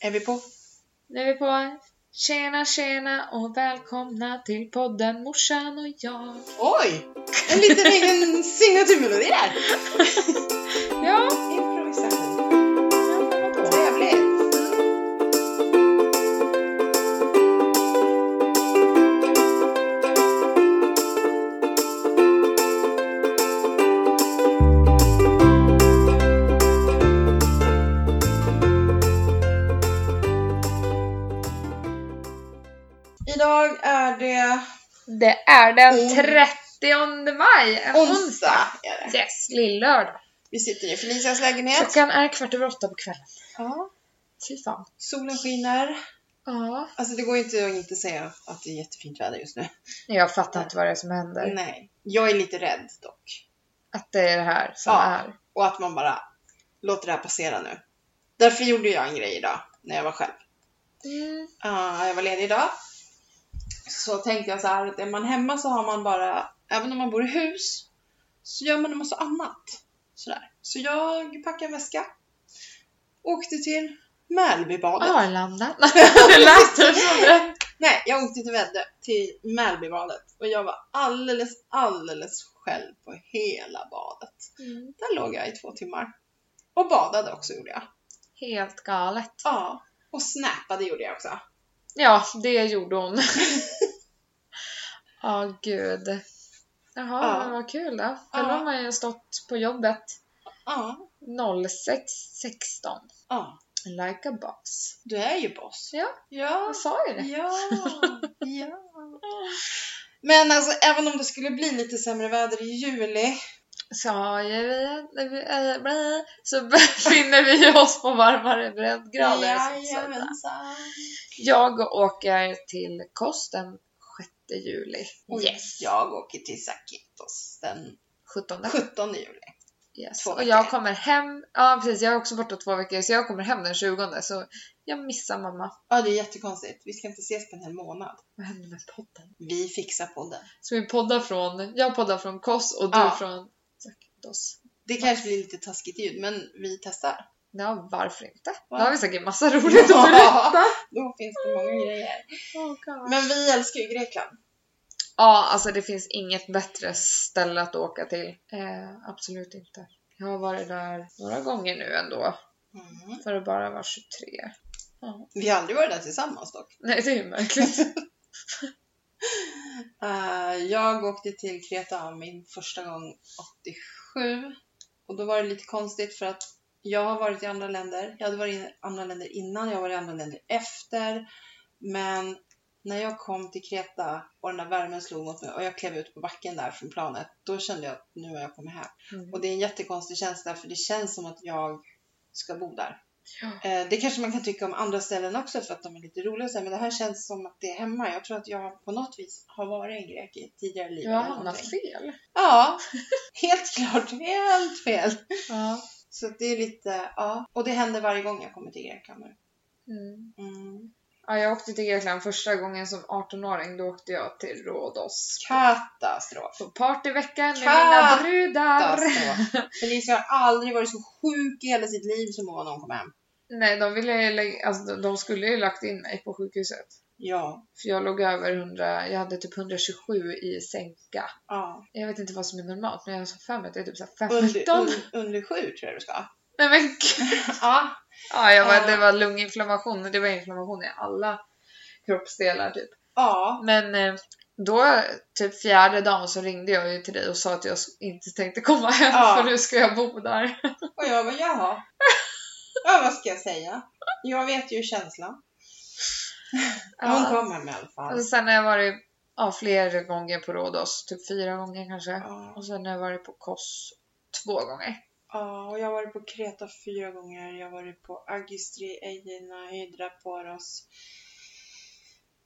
Är vi på? Nu är vi på. Tjena, tjena och välkomna till podden Morsan och jag. Oj! En liten egen signaturmelodi där! Ja, Improvisation. vadå? Trevligt! Idag är det Det är den Mm. 30 maj, en onsdag. onsdag. Är det. Yes, lill-lördag. Vi sitter i Felicias lägenhet. Klockan är kvart över åtta på kvällen. Ja. Fy fan. Solen skiner. Ja. Alltså det går inte att inte säga att det är jättefint väder just nu. Jag fattar inte vad det är som händer. Nej. Jag är lite rädd dock. Att det är det här som Ja. är. Och att man bara låter det här passera nu. Därför gjorde jag en grej idag, när jag var själv. Mm. Ah, jag var ledig idag. Så tänkte jag så här, att är man hemma så har man bara, även om man bor i hus, så gör man en massa annat. Sådär. Så jag packade en väska, åkte till Mälbybadet. Arlanda. det lät typ som det. Nej, jag åkte till Väddö, till Mälbybadet. Och jag var alldeles, alldeles själv på hela badet. Mm. Där låg jag i två timmar. Och badade också gjorde jag. Helt galet. Ja. Och snappade gjorde jag också. Ja, det gjorde hon. Ja, gud. Jaha, Ja. men vad kul då. Själv Ja. har man ju stått på jobbet Ja. 06.16. Ja. Like a boss. Du är ju boss. Ja. Ja. Jag sa ju det. Ja. ja. Men alltså även om det skulle bli lite sämre väder i juli. Sa ju vi att vi är bra, så befinner vi oss på varmare breddgrader. så att säga. Jajamensan. Jag åker till Kos den 6 juli. Och Yes! jag åker till Sakitos den 17. 17 juli. Yes. Två Och jag veckor. kommer hem, ja precis jag är också borta två veckor så jag kommer hem den 20 så jag missar mamma. Ja, det är jättekonstigt. Vi ska inte ses på en hel månad. Vad händer med podden? Vi fixar podden. Så vi poddar från, jag poddar från Kos och du Ja. från Zakynthos. Det kanske blir lite taskigt ljud, men vi testar. Ja, varför inte? Då Va? har vi säkert massa roligt Ja. att berätta. Då finns det många grejer. Oh, God. Men vi älskar ju Grekland. ja, alltså det finns inget bättre ställe att åka till. Eh, absolut inte. Jag har varit där några gånger nu ändå, för att bara vara 23. Ja. Vi har aldrig varit där tillsammans dock. Nej, det är ju märkligt. Eh, jag åkte till Kreta min första gång 87. Och då var det lite konstigt för att jag har varit i andra länder. Jag hade varit i andra länder innan, jag har varit i andra länder efter. Men när jag kom till Kreta och den där värmen slog mot mig och jag klev ut på backen där från planet, då kände jag att nu har jag kommit hem. Mm. Och det är en jättekonstig känsla för det känns som att jag ska bo där. Ja. Eh, Det kanske man kan tycka om andra ställen också för att de är lite roliga och så här, men det här känns som att det är hemma. Jag tror att jag på något vis har varit en grek i ett tidigare liv. Jag har eller hamnat någonting. fel. Ja, helt klart. Helt fel. Ja. Så att det är lite, ja. Och det händer varje gång jag kommer till Grekland nu. Mm. Mm. Ja, jag åkte till Grekland första gången som 18-åring. Då åkte jag till Rhodos. Katastrof. På partyvecka med mina Katastrof. brudar. Katastrof. Felicia har aldrig varit så sjuk i hela sitt liv som hon var när hon kom hem. Nej, de, ville ju lägga, alltså, de- de skulle ju lagt in mig på sjukhuset. Ja. För jag låg över 100, jag hade typ 127 i sänka. ja. Jag vet inte vad som är normalt, men jag har för mig att det är typ såhär Under, 15. un, under sju tror jag du ska. Nej men gud. Ja, Ja, jag var, Ja. det var lunginflammation, men det var inflammation i alla kroppsdelar typ. Ja, Men eh, då, typ fjärde dagen så ringde jag ju till dig och sa att jag s- inte tänkte komma hem Ja. för nu ska jag bo där. och jag bara jaha. Ja, vad ska jag säga? Jag vet ju känslan. Hon Ja. kommer med i alla fall. Och sen har jag varit ja, fler gånger på Rhodos, typ fyra gånger kanske. Ja, Och sen har jag varit på Kos två gånger. ja, och jag har varit på Kreta fyra gånger. Jag har varit på Agistri, Egina, Hydra, Poros.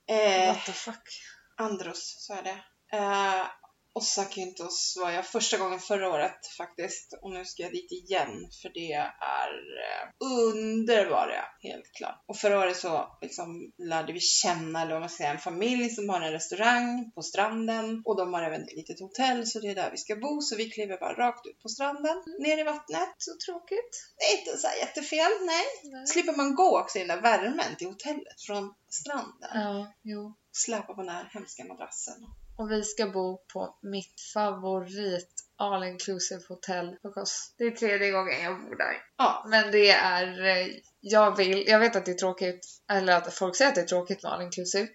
Eh, What the fuck. Andros, så är det. Eh, Osakyntos var jag första gången förra året faktiskt och nu ska jag dit igen för det är eh, underbara, helt klart. Och förra året så liksom lärde vi känna, eller vad man ska säga, en familj som har en restaurang på stranden och de har även ett litet hotell så det är där vi ska bo så vi kliver bara rakt ut på stranden, ner i vattnet. Så tråkigt. Det är inte så här jättefel, nej. Nej. Slipper man gå också i den där värmen till hotellet från stranden. Ja, jo. Släpa på den här hemska madrassen. Och vi ska bo på mitt favorit all inclusive hotell på Kos. Det är tredje gången jag bor där. Ja, Men det är, eh, jag vill, jag vet att det är tråkigt, eller att folk säger att det är tråkigt med all inclusive.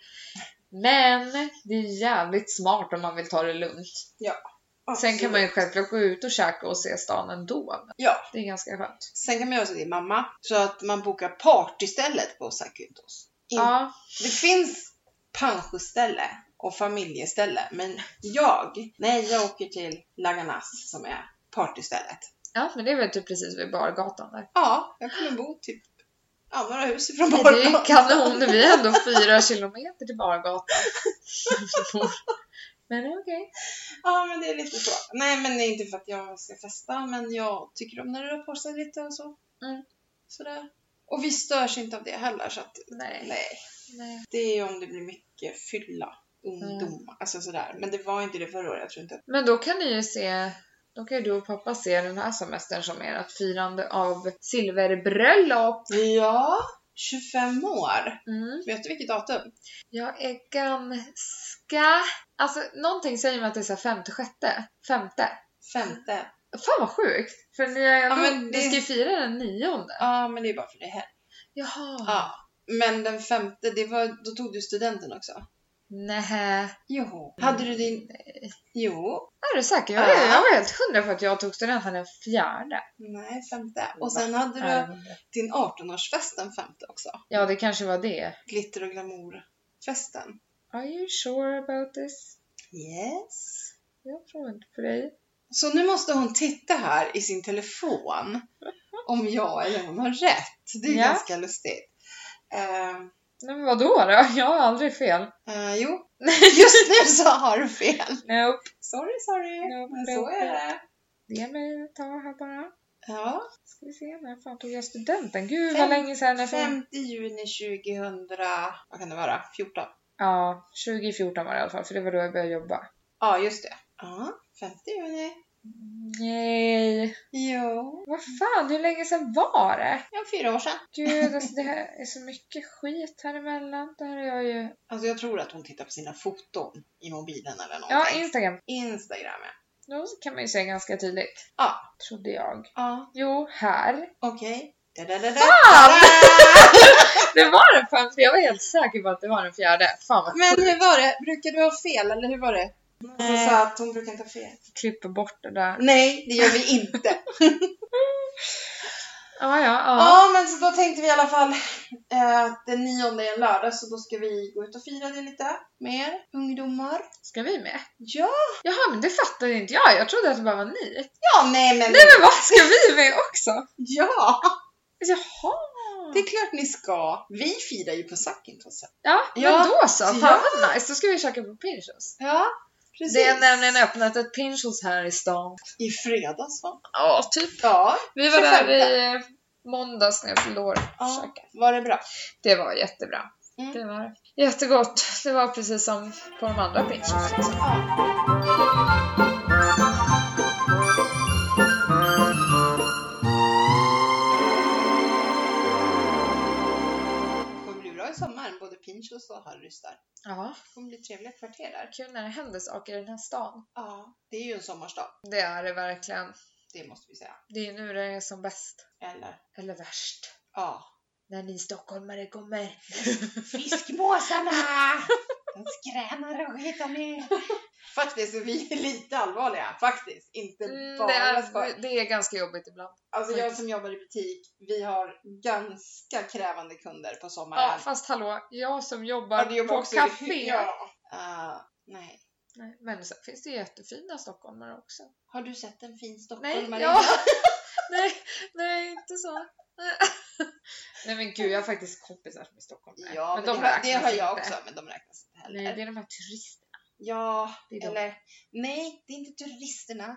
Men det är jävligt smart om man vill ta det lugnt. Sen kan man ju självklart gå ut och käka och se stan ändå. men Ja. Det är ganska skönt. Sen kan man göra så till mamma, så att man bokar partystället på Sakuntos. In- Ja, Det finns pensioställe och familjeställe, men jag, nej jag åker till Laganas som är partystället. ja, men det är väl typ precis vid bargatan där. Ja, jag kommer bo typ ja, några hus ifrån Det är ju Borgholm. kanon, vi är ändå fyra kilometer till bargatan. Men okej. Ja, men det är lite så. Nej, men det är inte för att jag ska festa, men jag tycker om när det rör på sig lite och så. Mm. Sådär. Och vi störs inte av det heller, så att Nej. nej. Nej. Det är ju om det blir mycket fylla, ungdom, alltså sådär. Men det var inte det förra året, jag tror inte att... Men då kan ni ju se, då kan ju du och pappa se den här semestern som ert firande av silverbröllop. Ja, 25 år! Mm. Vet du vilket datum? Jag är ganska... Alltså någonting säger mig att det är så här femte, sjätte, femte. Femte. Fan vad sjukt! För ni, är ändå, Ja, men ni det- ska ju fira den nionde. Ja, men det är bara för det här. Jaha. Ja. Men den femte, det var, då tog du studenten också. Nähä. Jo. Hade du din... Jo. Är du säker? Jag, Ja. jag var helt hundra på att jag tog studenten den fjärde. Nej, femte. Och sen hade du Ja. din 18-årsfest den femte också. Ja, det kanske var det. Glitter och glamour-festen. Are you sure about this? Yes. Jag tror inte på dig. Så nu måste hon titta här i sin telefon om jag eller hon har rätt. Det är Ja. ganska lustigt. Eh, Nej, men vadå då? Jag har aldrig fel. eh, jo, just nu så har du fel. Nope. Sorry, sorry. Ja, Men så är det. Ge mig ett tag här bara. Ja, Ska vi se, när fan tog jag studenten? Gud Fem- vad länge sedan. Jag tog... 5 juni 2000, vad kan det vara, 14? Ja, 2014 var det i alla fall, för det var då jag började jobba. Ja, just det. Ja, 5 juni. Nej. Jo, Vad fan, hur länge sedan var det? ja, fyra år sedan. Gud, alltså, det här är så mycket skit här emellan. Det här är jag ju... Alltså jag tror att hon tittar på sina foton i mobilen eller någonting. Ja, Instagram. Instagram, ja. Då kan man ju säga ganska tydligt. Ja. Trodde jag. Ja, Jo, här. okej. Da-da-da-da. Det var den fan, för jag var helt säker på att det var den fjärde. Fan vad Men hur var det? Brukar du ha fel eller hur var det? Hon sa att hon brukar inte ha fel. klipper bort det där. Nej, det gör vi inte. Ja, ja, ja. ja, men så då tänkte vi i alla fall eh, att den nionde är en lördag så då ska vi gå ut och fira det lite med er ungdomar. Ska vi med? Ja, Jaha, men det fattade inte jag. Jag trodde att det bara var ni. ja nej men Nej men vad, ska vi med också? ja, Jaha! det är klart ni ska. Vi firar ju på Sakintos. Ja, Ja, men då så. så Fan jag- vad nice, då ska vi käka på Pinchos. Ja, precis. Det är nämligen öppnat ett Pinchos här i stan. I fredags va? Ja, typ. Ja, Vi var där 25. i eh, måndags när jag fyllde år. ja. Käka. var det bra? Det var jättebra. Mm. Det var jättegott. Det var precis som på de andra Pinchos. Ja. Det kommer bli bra i sommar, både Pinchos och Harrys där. Ja, Det kommer bli trevliga kvarter där. kul när det händer saker i den här stan. Ja, det är ju en sommarstad, Det är det verkligen. det måste vi säga. Det är nu det är som bäst. Eller? Eller värst. Ja. När ni stockholmare kommer. Fiskmåsarna! De skränar och skitar ner. Faktiskt, så vi är lite allvarliga. Faktiskt, inte Mm, bara det, skoj. är, det är ganska jobbigt ibland. Alltså jag som jobbar i butik, vi har ganska krävande kunder på sommaren. Ja, fast hallå, jag som jobbar Ja, det jobbar på också- café. Ja. Ah, nej. Nej, Men sen finns det ju jättefina stockholmare också. Har du sett en fin Nej, stockholmare? ja. nej, nej, inte så. nej men gud, jag har faktiskt kompisar som är stockholmare. ja men, de det, har- det räknas har jag inte. också, men de räknas inte heller. Nej, det är de här turisterna. Ja, Det är de. eller nej, det är inte turisterna.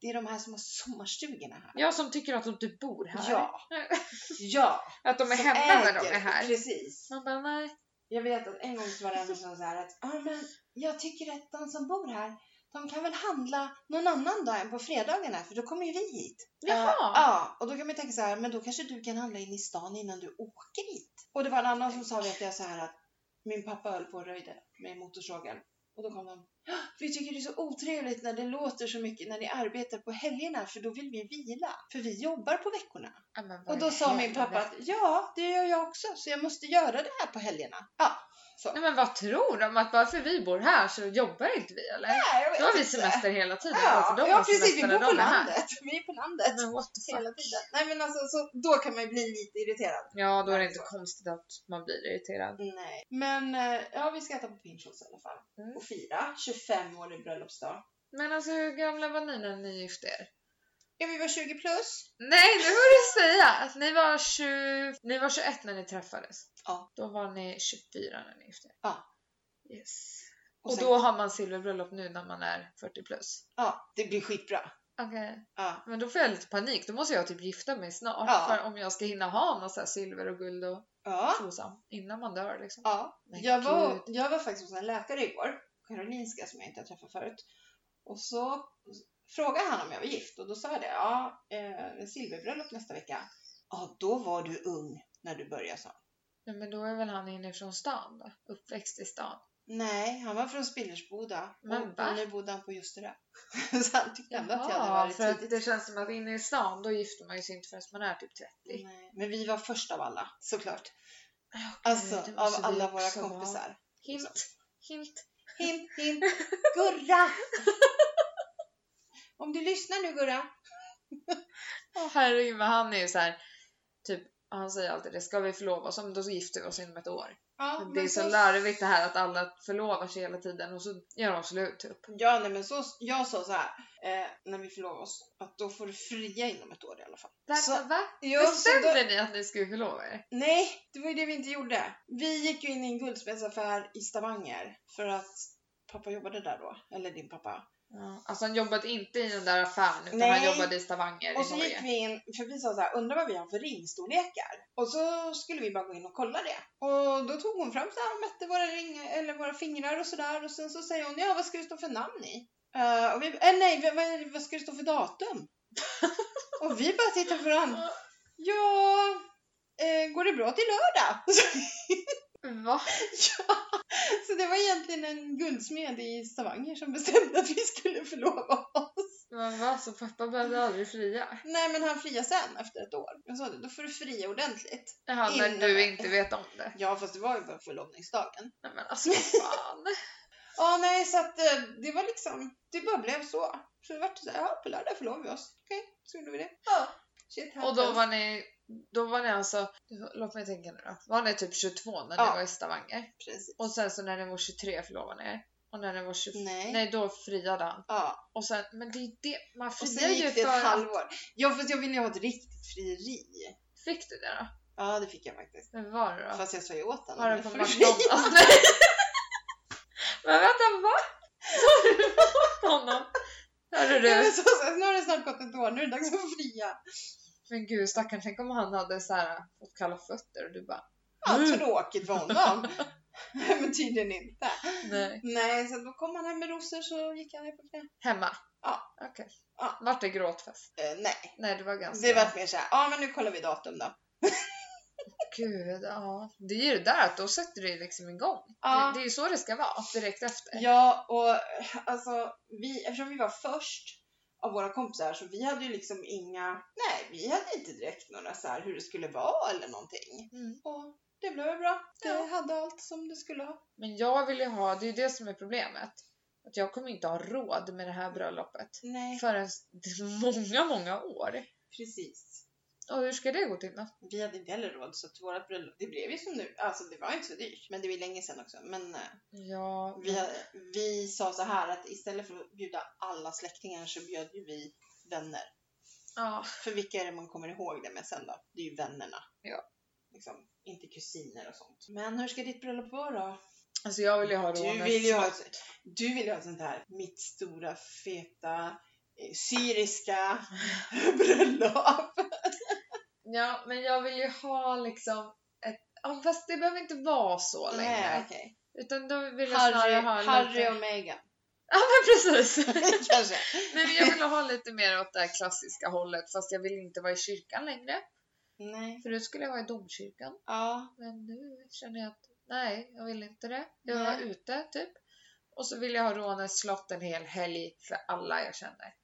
Det är de här som har sommarstugorna här. Jag som tycker att de typ bor här. Ja. Ja, Att de är som hemma när de äger. är här. Precis. Man bara, nej. Jag vet att en gång så var det en som sa här att ah, men jag tycker att de som bor här, de kan väl handla någon annan dag än på fredagarna för då kommer ju vi hit. Jaha. Ja, ja, och då kan man tänka så här, men då kanske du kan handla in i stan innan du åker hit. Och det var en annan som sa vet jag så här att min pappa höll på och röjde med motorsågen och då kom de. "Ah, Vi tycker det är så otrevligt när det låter så mycket när ni arbetar på helgerna för då vill vi vila. För vi jobbar på veckorna. Ja, men vad Och då sa min pappa helvete. att ja, det gör jag också så jag måste göra det här på helgerna. Ja, Nej men vad tror de? Att bara för vi bor här så jobbar inte vi eller? Nej, jag vet Då har vi inte. semester hela tiden. bara Ja, för de ja har precis, vi semester när bor på de är här. landet. Vi är på landet Men what the fuck. hela tiden. Nej men alltså, så, då kan man ju bli lite irriterad. Ja, då är det inte konstigt att man blir irriterad. Nej. Men eh, ja, vi ska äta på Pinchos i alla fall. Mm. Och fira 25 år i bröllopsdag. Men alltså hur gamla var ni när ni gifte er? Ja, vi var 20 plus. Nej, nu får du säga! Att ni var, 20... ni var 21 när ni träffades. Ja. Då var ni 24 när ni gifte er. Ja. Yes. Och Och, sen- då har man silverbröllop nu när man är 40 plus. Ja, det blir skitbra. Okej. Ja. Men då får jag lite panik. Då måste jag typ gifta mig snart. Ja. För om jag ska hinna ha något så här silver och guld och Ja. trosam innan man dör liksom. ja. Men Jag, var, gud. jag var faktiskt hos en läkare igår, Karolinska, som jag inte har träffat förut. Och så frågade han om jag var gift och då sa jag det. Ja, eh, silverbröllop nästa vecka. Ja, då var du ung när du började, sa han. Nej, men då är väl han inifrån stan då? Uppväxt i stan. Nej, han var från Spillersboda. Men och, va? och nu bodde han på Ljusterö. så han tyckte ändå att jag hade Jaha, varit för att tidigt. det känns som att inne i stan då gifter man ju sig inte förrän man är typ 30. Nej. Men vi var först av alla, såklart. Gud, Alltså, det av måste vi alla våra också vara. kompisar. Hint, hint. Hint, hint, Gurra! Om du lyssnar nu Gurra. Åh herregud, men han är ju så här, typ, han säger alltid det, ska vi förlova oss? Ja, men Då så gifter vi oss inom ett år. Ja, det är så larvigt det här att alla förlovar sig hela tiden och så gör de slut typ. Ja, nej, men så, jag sa så här eh, när vi förlovade oss att då får du fria inom ett år i alla fall. Så- Vänta, va? Jo, så då- Bestämde ni att ni skulle förlova er? Nej, det var ju det vi inte gjorde. Vi gick ju in i en guldsmedsaffär i Stavanger för att pappa jobbade där då, eller din pappa. Ja. Alltså han jobbade inte i den där affären utan Nej. han jobbade i Stavanger Och i så Norge. gick vi in, för vi sa så här, undrar vad vi har för ringstorlekar? Och så skulle vi bara gå in och kolla det. Och då tog hon fram så här och mätte våra, ring, eller våra fingrar och sådär. Och sen så säger hon, ja vad ska det stå för namn i? Eh, och vi, eh, nej, vad- vad, vad ska det stå för datum? och vi bara tittar på varandra. Ja, eh, går det bra till lördag? Va? så det var egentligen en guldsmed i Stavanger som bestämde att vi skulle förlova oss. Men va? Så pappa behövde aldrig fria? Nej, men han friade sen efter ett år. Jag sa det, då får du fria ordentligt. Jaha, när Innan. du inte vet om det. Ja, fast det var ju bara förlovningsdagen. Nej men alltså vad fan. Ja, nej, så att eh, det var liksom, det bara blev så. Så det vart så här, ja, på lördag förlovar vi oss. Okej, så gjorde vi det. Ja. Shit Och då var ni, då var ni alltså, låt mig tänka nu då. Var ni typ 22 när ni Ja. var i Stavanger? Precis. Och sen så när ni var 23 förlovade ni er? Och när ni var 24? Nej. Nej. då friade han. Ja, Och sen, men det är ju det, man och friar sen ju gick det för... ett halvår. Ja, fast jag ville ju ha ett riktigt frieri. Fick du det då? Ja, det fick jag faktiskt. Men var det då? Fast jag sa ju åt honom. Var det men på för- McDonalds? Nej! Men vänta, va? Sa du åt honom? Hörru Ja, men du, så, så, nu har det snart gått ett år, nu är det dags att fria. men gud stackarn, tänk om han hade så här, fått kalla fötter och du bara Ja, Mm. tråkigt för honom. men tydligen inte. nej. Nej, så då kom han hem med rosor så gick han ner på knä. Hemma? Ja. Okej. Ja. Vart det gråtfest? Eh, nej, Nej det var ganska... det vart mer såhär, ja men nu kollar vi datum då. Gud, ja. Det är ju det där att då sätter det liksom igång. Ja. Det, det är ju så det ska vara, direkt efter. Ja, och eh, alltså, vi, eftersom vi var först av våra kompisar så vi hade ju liksom inga, nej vi hade inte direkt några så här hur det skulle vara eller någonting. Mm. Och det blev väl bra. Det Ja. hade allt som det skulle ha. Men jag vill ju ha, det är ju det som är problemet. Att jag kommer inte ha råd med det här bröllopet Nej, förrän många, många år. precis. Och hur ska det gå till då? Vi hade inte heller råd så att vårat bröllop, det blev ju som nu, alltså det var inte så dyrt. Men det var ju länge sedan också. Men eh, Ja, vi, hade- vi sa så här att istället för att bjuda alla släktingar så bjöd ju vi vänner. ja. För vilka är det man kommer ihåg det med sen då? Det är ju vännerna. Ja. Liksom, inte kusiner och sånt. Men hur ska ditt bröllop vara då? Alltså jag vill ju ha Du rånet. vill ju ha ett, du vill ju ha ett sånt här mitt stora feta eh, syriska bröllop. Ja, men jag vill ju ha liksom ett... Ja, fast det behöver inte vara så Nej, längre. okej. Utan då vill jag snarare Harry, ha en Harry lite... och Meghan. Ja, men precis! Kanske. Nej, men jag vill ha lite mer åt det här klassiska hållet fast jag vill inte vara i kyrkan längre. Nej. Förut skulle jag vara i domkyrkan. Ja. Men nu känner jag att nej, jag vill inte det. Jag vill vara Nej. ute typ. Och så vill jag ha Rånäs slott en hel helg för alla jag känner.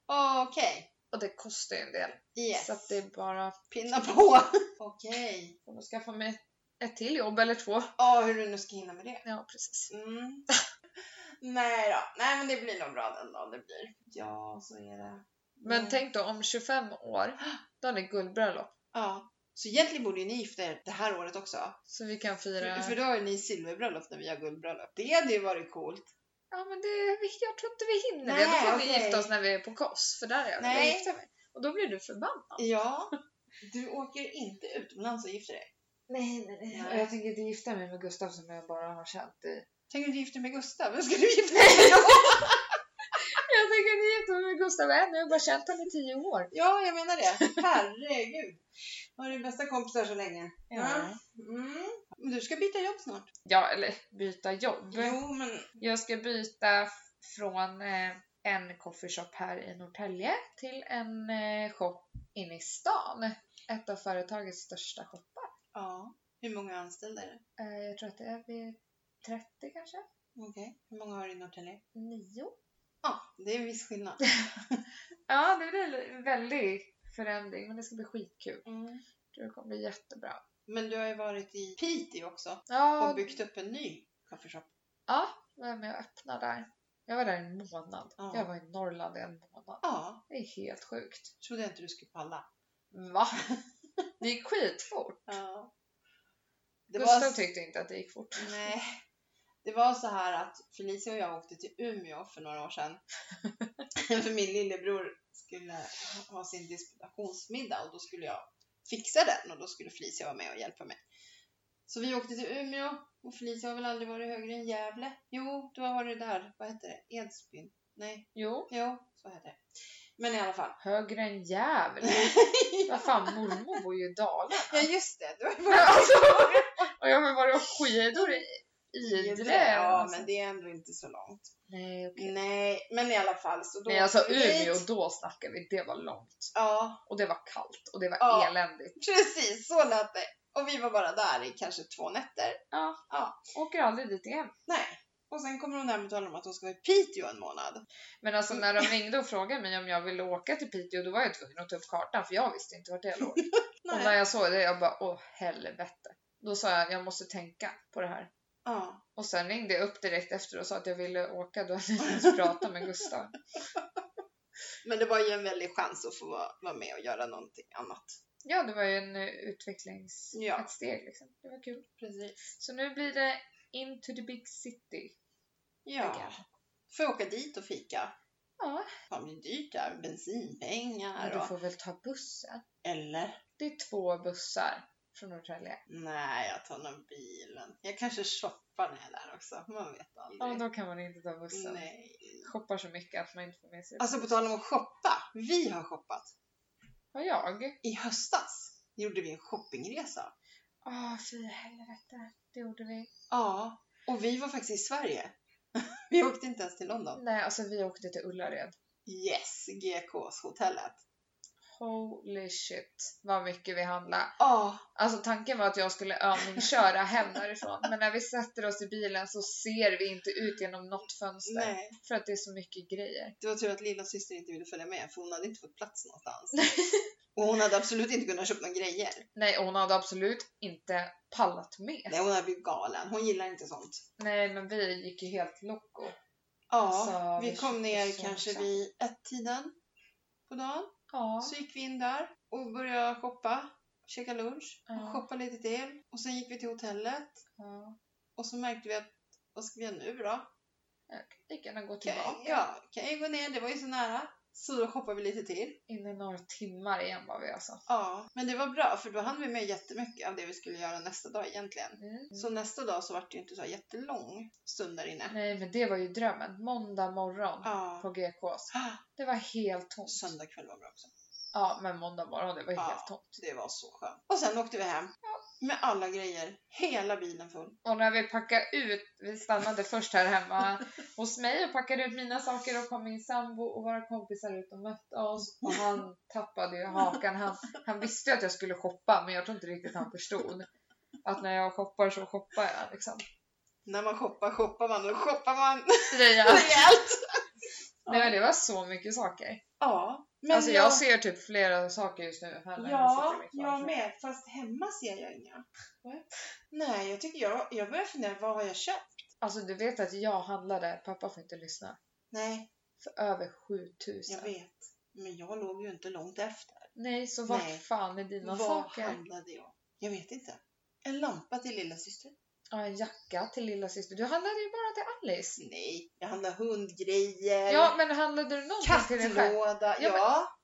Okej. Och det kostar ju en del. Yes. Så att det är bara Pinna på. Okej. att skaffa mig ett till jobb eller två. Ja, hur du nu ska hinna med det. Ja, precis. Mm. Nej då. Nej men det blir nog bra den dagen det blir. Ja, så är det. Men Mm. tänk då om 25 år, då har ni guldbröllop. Ja. Så egentligen borde ju ni gifta er det här året också. Så vi kan fira... För, för då har ju ni silverbröllop när vi har guldbröllop. Det hade ju varit coolt. Ja men det, vi- jag tror inte vi hinner Nej, det. Då får vi okej. gifta oss när vi är på Kos, för där är jag. Nej. jag gifter mig. Och då blir du förbannad. Ja. Du åker inte utomlands och gifter dig. Nej, nej, nej. Och jag tänker inte gifta mig med Gustav som jag bara har känt i... Tänk om du gifter dig med Gustav? Vem ska du gifta dig med? Jag tänker inte gifta mig med Gustav än, jag har bara känt honom i tio år. ja, jag menar det. Herregud. Varit bästa kompisar så länge. Ja. Mm. Men du ska byta jobb snart. Ja, eller byta jobb. Jo, men Jag ska byta f- från eh, en coffeeshop här i Norrtälje till en eh, shop inne i stan. Ett av företagets största shoppar. ja. Hur många anställda är det? Eh, jag tror att det är vid 30 kanske? Okej. Hur många har du i Norrtälje? Nio? Ja, det är en viss skillnad. Ja, det blir en väldig förändring, men det ska bli skitkul. Mm. Jag tror det kommer bli jättebra. Men du har ju varit i Piteå också Ja, och byggt upp en ny coffeeshop. ja jag var med och öppnade där. Jag var där en månad. Ja. Jag var i Norrland i en månad. Ja, Det är helt sjukt. trodde jag inte du skulle palla. Va? Det gick skitfort. Ja. Det Gustav var... tyckte inte att det gick fort. Nej. Det var så här att Felicia och jag åkte till Umeå för några år sedan. för min lillebror skulle ha sin disputationsmiddag och då skulle jag fixa den och då skulle Felicia vara med och hjälpa mig. Så vi åkte till Umeå och Felicia har väl aldrig varit högre än Gävle? Jo, du har varit där. Vad heter det? Edsbyn? Nej, Jo, jo, så heter det. Men i alla fall. högre än jävel. Vad fan, mormor bor ju i Dalarna. Ja, just det. Du har ju varit Alltså, och jag har varit och skidor i Idre. Ja, alltså. men det är ändå inte så långt. Nej, okej. Nej, men i alla fall. Så då Nej, alltså åkte vi dit. Umeå, då snackar vi. Det var långt. Ja, Och det var kallt och det var Ja. eländigt. precis så lät det. Och vi var bara där i kanske två nätter. Ja. Ja. Åker aldrig dit igen. Nej. Och sen kommer hon hem och talar om att hon ska vara i Piteå en månad. Men alltså när de ringde och frågade mig om jag ville åka till Piteå då var jag tvungen att ta upp kartan för jag visste inte vart det låg. och när Nej. jag såg det jag bara åh helvete. Då sa jag jag måste tänka på det här. Ja. Och sen ringde jag upp direkt efter och sa att jag ville åka då hade jag inte ens pratat med Gustav. Men det var ju en väldig chans att få vara, vara med och göra någonting annat. Ja det var ju en eh, utvecklings... Ja. ett steg liksom. Det var kul. Precis. Så nu blir det into the big city. Ja. Okej. Får jag åka dit och fika. Ja, Fan, det blir dyrt där. Bensinpengar men du och... får väl ta bussen. Eller? Det är två bussar från Norrtälje. Nej, jag tar nog bilen. Jag kanske shoppar när jag är där också. Man vet Ja, aldrig. då kan man inte ta bussen. Mm. Nej. Shoppar så mycket att man inte får med sig Alltså på tal om att shoppa. Vi har shoppat. Har jag? I höstas gjorde vi en shoppingresa. Åh, fy helvete. Det gjorde vi. Ja, och vi var faktiskt i Sverige. vi åkte inte ens till London. Nej, alltså vi åkte till Ullared. Yes, GKs hotellet. Holy shit vad mycket vi handlade. Ja, Alltså tanken var att jag skulle övningsköra hem därifrån. Men när vi sätter oss i bilen så ser vi inte ut genom något fönster. nej. För att det är så mycket grejer. Det var tur att lilla syster inte ville följa med för hon hade inte fått plats någonstans. och hon hade absolut inte kunnat köpa några grejer. Nej, och hon hade absolut inte pallat med. Nej, hon hade blivit galen. Hon gillar inte sånt. Nej, men vi gick ju helt loco. Ja, Alltså, vi vi kom ner köpte så kanske mycket. vid ett-tiden på dagen. Ja. Så gick vi in där och började shoppa, käka lunch, Ja. shoppa lite till. Och sen gick vi till hotellet ja. Och så märkte vi att, vad ska vi göra nu då? Jag kan lika gärna gå Kan, tillbaka. ja, kan jag gå ner? Det var ju så nära. Så då shoppade vi lite till. Innan några timmar igen var vi alltså. Ja, men det var bra för då hann vi med jättemycket av det vi skulle göra nästa dag egentligen. Mm. Så nästa dag så var det ju inte så här jättelång stund där inne. Nej men det var ju drömmen. Måndag morgon Ja. på GKs. Ah, Det var helt tomt. Söndag kväll var bra också. Ja men måndag morgon det var Ja. helt tomt. Det var så skönt. Och sen åkte vi hem. Med alla grejer. Hela bilen full. Och när vi packade ut, vi stannade först här hemma hos mig och packade ut mina saker och kom min sambo och våra kompisar ut och mötte oss. Och han tappade ju hakan. Han, han visste ju att jag skulle shoppa men jag tror inte riktigt han förstod. Att när jag shoppar så shoppar jag liksom. När man shoppar, shoppar man. Då shoppar man Det, jag, rejält. nej, men det var så mycket saker. Ja. Men alltså jag, ser typ flera saker just nu här när jag Ja, sitter i mitt jag vardagsrum. med. Fast hemma ser jag inga. What? Nej, jag tycker jag, jag börjar fundera, vad har jag köpt? Alltså du vet att jag handlade, pappa får inte lyssna, Nej, för över 7000. jag vet. Men jag låg ju inte långt efter. Nej, så vart Nej. fan är dina vad saker? handlade jag? Jag vet inte. En lampa till lilla syster. Ja, en jacka till lilla syster. Du handlade ju bara till Alice. Nej, jag handlade hundgrejer. Ja, men handlade du någonting till dig själv? Kattlåda, Ja, men- ja.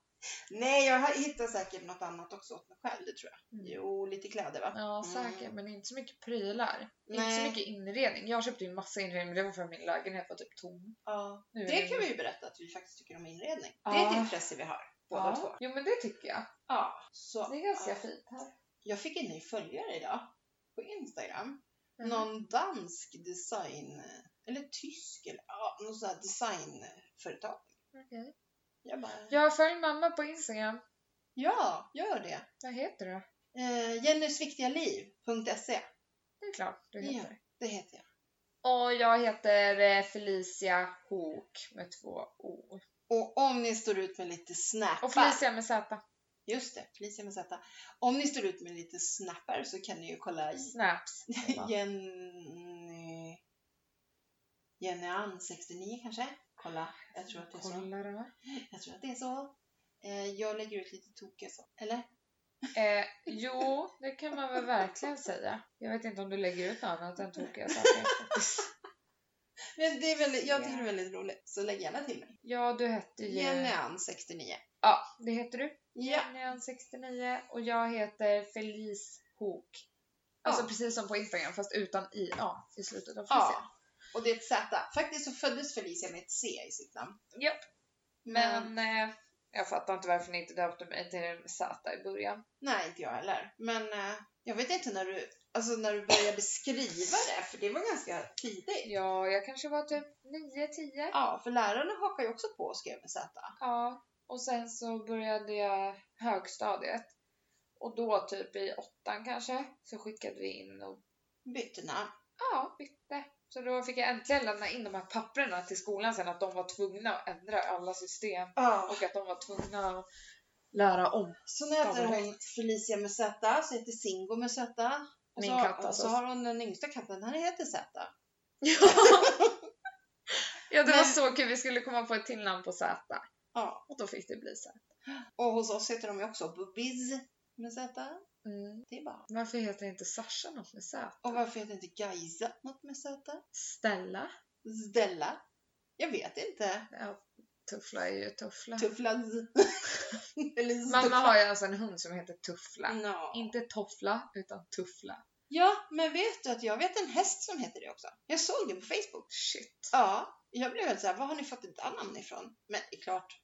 Nej, jag har- hittar säkert något annat också åt mig själv, det tror jag. Mm. Jo, lite kläder va? Ja, Mm. säkert. Men inte så mycket prylar. Inte så Nej. mycket inredning. Jag köpte ju massa inredning, men det var för att min lägenhet var typ tom. Ja. Nu är Det kan vi ju berätta att vi faktiskt tycker om inredning. Det är Ja. ett intresse vi har, båda ja. två. Jo, men det tycker jag. Ja. Så, Det är ganska ja. fint här. Jag fick en ny följare idag på Instagram. Mhm. Någon dansk design, eller tysk, eller ja, något sånt här designföretag. Mm, Okej. Jag bara, Jag följer mamma på Instagram. ja, gör det. Vad heter du? Eh, Jennysviktigliv.se, Det är klart du Ja. heter. E. det heter jag. Och jag heter eh, Felicia Hook med två O. Och om ni står ut med lite Och snappar. Felicia med Z. Just det, Felicia med Z. Om ni står ut med lite snappar så kan ni ju kolla i- Snaps. Jenny... Jenny Ann 69 kanske? Kolla, jag tror att det är så. Kolla där. Jag tror att det är så. Eh, jag lägger ut lite tokiga så. Eller? Eh, jo, det kan man väl verkligen säga. Jag vet inte om du lägger ut något annat än tokiga saker. Men det är väldigt, jag tycker det är väldigt roligt, så lägg gärna till mig. Ja, du hette ju... Jenny Ann 69. Ja, det heter du. Ja, Jenny 69 och jag heter Felice Hook. Alltså Ja. precis som på Instagram fast utan i ja, i slutet av Felicia. ja. Och det är ett Z. Faktiskt så föddes Felicia med ett C i sitt namn. Japp. Men eh, jag fattar inte varför ni inte döpte mig till Z i början. Nej, inte jag heller. Men eh, jag vet inte när du, alltså när du började beskriva det, för det var ganska tidigt. Ja, jag kanske var typ 9-10. Ja, för lärarna hakar ju också på och skrev med Z. Ja, och sen så började jag högstadiet. Och då typ i åttan kanske så skickade vi in och Bytte namn. ja, bytte. Så då fick jag äntligen lämna in de här papperna till skolan sen att de var tvungna att ändra alla system Ja. och att de var tvungna att lära om. Så nu heter Ja, men hon Felicia med Z, så heter Singo med Z. Och Min så, katt och alltså. så har hon den yngsta katten, han heter Z. Ja, det var Men- så kul. Vi skulle komma på ett till namn på Z. Ja. Och då fick det bli Z. Och hos oss heter de ju också Bubbies med Z. Mm. Det är bara. Varför heter inte Sasha något med Z? Och varför heter inte Gajsa något med Z? Stella? Stella? Jag vet inte. Ja, tuffla är ju Tuffla. Tufflaz. Eller Mamma har ju alltså en hund som heter Tuffla. No. Inte Toffla, utan Tuffla. Ja, men vet du att jag vet en häst som heter det också? Jag såg det på Facebook. Shit. Ja, jag blev helt såhär, var har ni fått det där namnet ifrån? Men det är klart,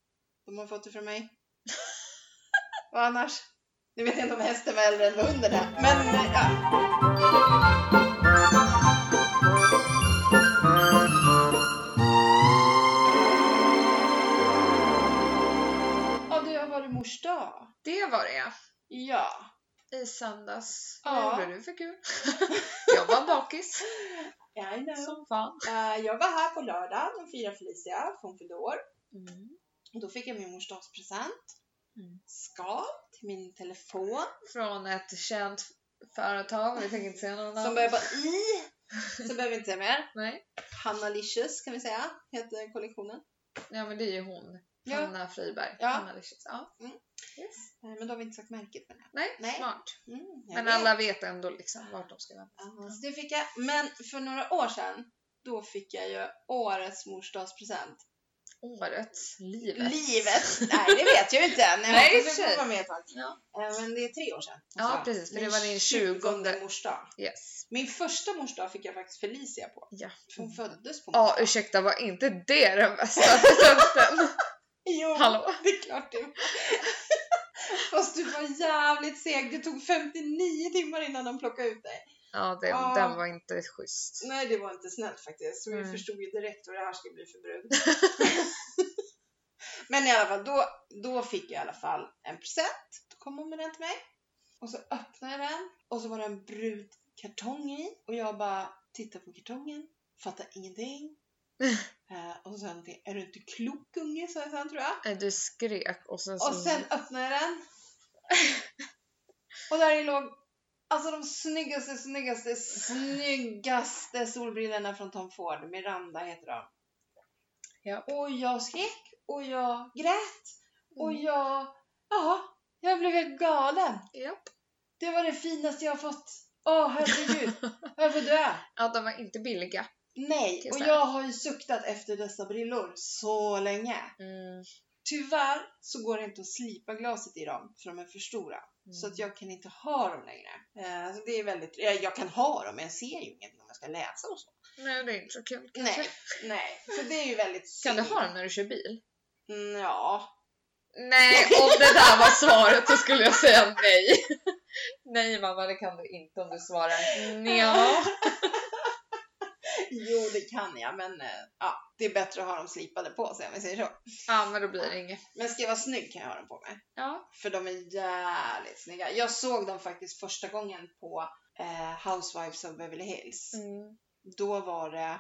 de har fått det från mig. Vad annars? Nu vet jag inte om hästen var äldre än vad hunden är, men eh, ja. Ja, du har varit mors dag. Det var det. Ja. I söndags. Ja. Vad gjorde du för kul? jag var bakis. I know. Som fan. eh, jag var här på lördagen och firade Felicia, för hon fyllde år. Mm. Och då fick jag min mors dagspresent. Mm. Skal till min telefon. Från ett känt företag. Vi tänker inte säga någon namn. Som börjar på I. Så behöver vi inte säga mer. Nej. Hannalicious kan vi säga, heter kollektionen. Ja men det är ju hon. Ja. Hanna Friberg. Ja. Hanna Licious. ja. Mm. Yes. Nej, men då har vi inte sagt märket med det. Nej, Nej. smart. Mm, jag Men vet. alla vet ändå liksom vart de ska vända Ja, så det fick jag. Men för några år sedan, då fick jag ju årets morsdagspresent. året, livet. Livet? Nej, det vet jag ju inte än. Jag Nej, hoppas i och för jag får sig. vara med ett tag. Ja. Eh, Men det är tre år sedan. Ja, Alltså, precis, för det min var din tjugonde- morsdag. Yes. Min första morsdag fick jag faktiskt Felicia på. Ja. För hon föddes på Ja, ursäkta, var inte det den bästa presenten? Jo, Hallå? det är klart det var. Fast du var jävligt seg. Det tog 59 timmar innan de plockade ut dig. Ja, det, Ja. den var inte schysst. Nej, det var inte snällt faktiskt. Så vi Mm. förstod ju direkt vad det här skulle bli för brud. Men i alla fall, då, då fick jag i alla fall en present. Då kom hon med den till mig. Och så öppnade jag den och så var det en brudkartong i. Och jag bara tittade på kartongen, fattade ingenting. Eh, och sen tänkte jag, är du inte klok unge? sa jag sen tror jag. Nej, Du skrek och sen, Och sen öppnade jag den. Och där i låg alltså de snyggaste, snyggaste, snyggaste solbrillorna från Tom Ford. Miranda heter de. Ja. Och jag skrek och jag grät och jag, ja, jag blev helt galen. Japp. Det var det finaste jag har fått. Åh, herregud. Jag får dö. Ja, de var inte billiga. Nej, Kan jag och säga. jag har ju suktat efter dessa brillor så länge. Mm. Tyvärr så går det inte att slipa glaset i dem för de är för stora. Mm. Så att jag kan inte ha dem längre. Eh, så det är väldigt, eh, jag kan ha dem men jag ser ju inget om jag ska läsa och så. Nej, det är inte så kul kanske. Nej, nej. Så det är ju väldigt Kan synd. du ha dem när du kör bil? Mm, ja. Nej, om det där var svaret så skulle jag säga nej. Nej mamma, det kan du inte om du svarar nja. Jo, det kan jag men eh, ja, det är bättre att ha dem slipade på sig om vi säger så. Ja, men då blir det inget. Men ska jag vara snygg kan jag ha dem på mig. Ja. För de är jävligt snygga. Jag såg dem faktiskt första gången på eh, Housewives of Beverly Hills. Mm. Då var det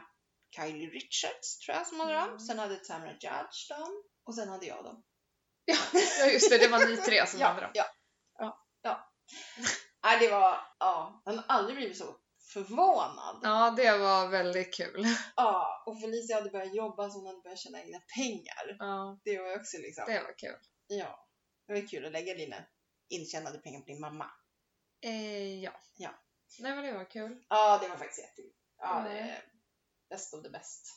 Kylie Richards tror jag som hade Mm. dem. Sen hade Tamra Judge dem. Och sen hade jag dem. ja, just det, det var ni tre som hade Ja, dem. ja. Ja. ja. Nej, det var... Ja, jag har aldrig blivit så förvånad. Ja, det var väldigt kul. Ja, och Felicia hade börjat jobba så hon hade börjat tjäna egna pengar. Ja, Det var ju också liksom... det var kul. Ja. Det var kul att lägga dina intjänade pengar på din mamma. Eh, ja. Ja. Nej, men det var kul. Ja, det var faktiskt jättekul. Ja, det Mm. är bäst av det bäst.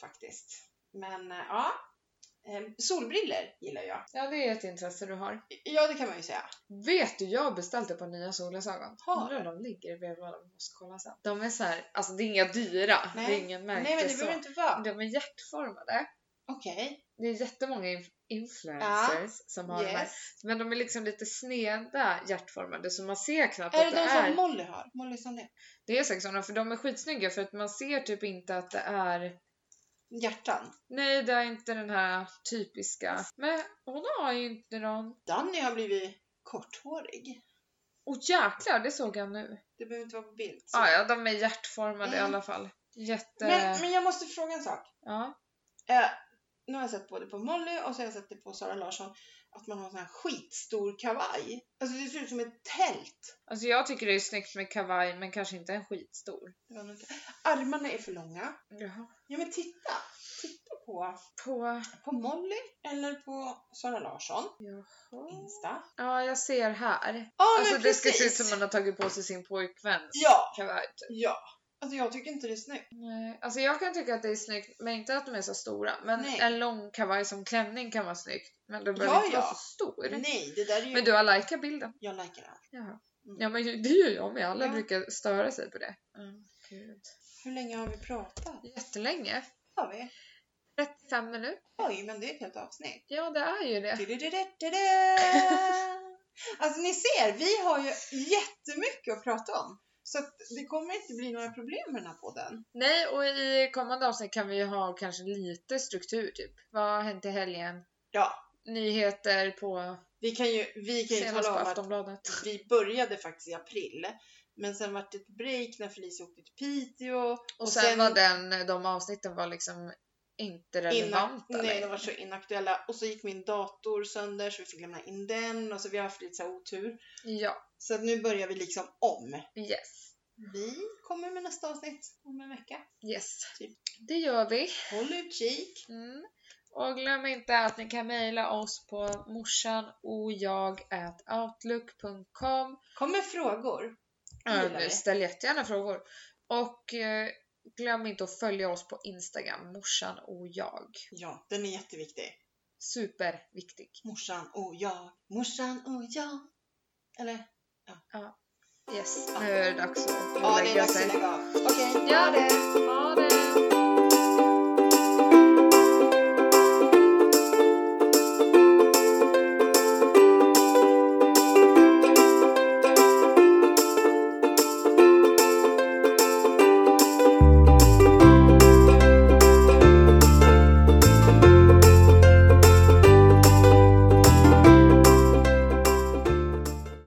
Faktiskt. Men eh, ja. Eh, Solbriller gillar jag. Ja, det är ett intresse du har. Ja, det kan man ju säga. Vet du, jag har beställt ett par nya solglasögon. Har Undrar om de ligger i brevlådan. Vi måste kolla sen. De är så här, alltså det är inga dyra. Det Nej. är ingen märke Nej, men det så. behöver inte vara. De är hjärtformade. Okej. Det är jättemånga inf- influencers som har de här. Yes. Men de är liksom lite sneda hjärtformade så man ser knappt Är det att de det som är... Molly har? Molly som det. det är säkert sådana för de är skitsnygga för att man ser typ inte att det är... Hjärtan. Nej, det är inte den här typiska. Men hon har ju inte någon... Danny har blivit korthårig. Åh jäklar, det såg jag nu. Det behöver inte vara på bild. så. Ah, ja, de är hjärtformade i Mm. alla fall. Jätte... men, men jag måste fråga en sak. Ja. Eh, nu har jag sett både på Molly och så har jag sett det på Sara Larsson. Att man har en sån här skitstor kavaj. Alltså det ser ut som ett tält. Alltså jag tycker det är snyggt med kavaj men kanske inte en skitstor. Det var nog inte- Armarna är för långa. Jaha. Ja men titta! Titta på, På... på Molly eller på Sara Larsson. Ja, Insta. jag ser här. Ja Alltså men det ska precis! se ut som man har tagit på sig sin pojkväns Ja! kavaj. typ. Ja! Alltså jag tycker inte det är snyggt. Nej, Alltså jag kan tycka att det är snyggt, men inte att de är så stora. Men Nej. en lång kavaj som klänning kan vara snyggt. Men det behöver Ja, inte vara ja. så stor. Nej, det där är ju... Men du har likat bilden. Jag likar allt. Jaha. Mm. Ja men det gör jag med, alla Ja. brukar störa sig på det. Mm, gud. Hur länge har vi pratat? Jättelänge. Har vi? 35 minuter. Oj, men det är ett helt avsnitt. Ja det är ju det. Du-du-du-du-du-du. Alltså ni ser, vi har ju jättemycket att prata om. Så att det kommer inte bli några problem med den här podden. Nej och i kommande avsnitt kan vi ju ha kanske lite struktur typ. Vad har hänt i helgen? Ja, Nyheter på vi kan ju, vi kan ju senast tala på om att Aftonbladet. vi började faktiskt i april. Men sen vart det ett break när Felicia åkte till Piteå. Och sen, var den, de avsnitten var liksom inte relevanta Inna, nej, de längre. var så inaktuella. Och så gick min dator sönder så vi fick lämna in den. Och så vi har haft lite så här otur. Ja, Så att nu börjar vi liksom om. yes. Vi kommer med nästa avsnitt om en vecka. Yes. Typ. Det gör vi. Håll utkik! Mm. Och glöm inte att ni kan mejla oss på morsan och jag Kom med frågor! gillar vi. Ställ jättegärna frågor. Och eh, glöm inte att följa oss på Instagram, morsan och jag. Ja, den är jätteviktig. Superviktig. Morsan och jag, morsan och jag. Eller? Yes, nu är det dags att Ja, det är lägga dags att sig. lägga av. Okej, Gör det! Ha det!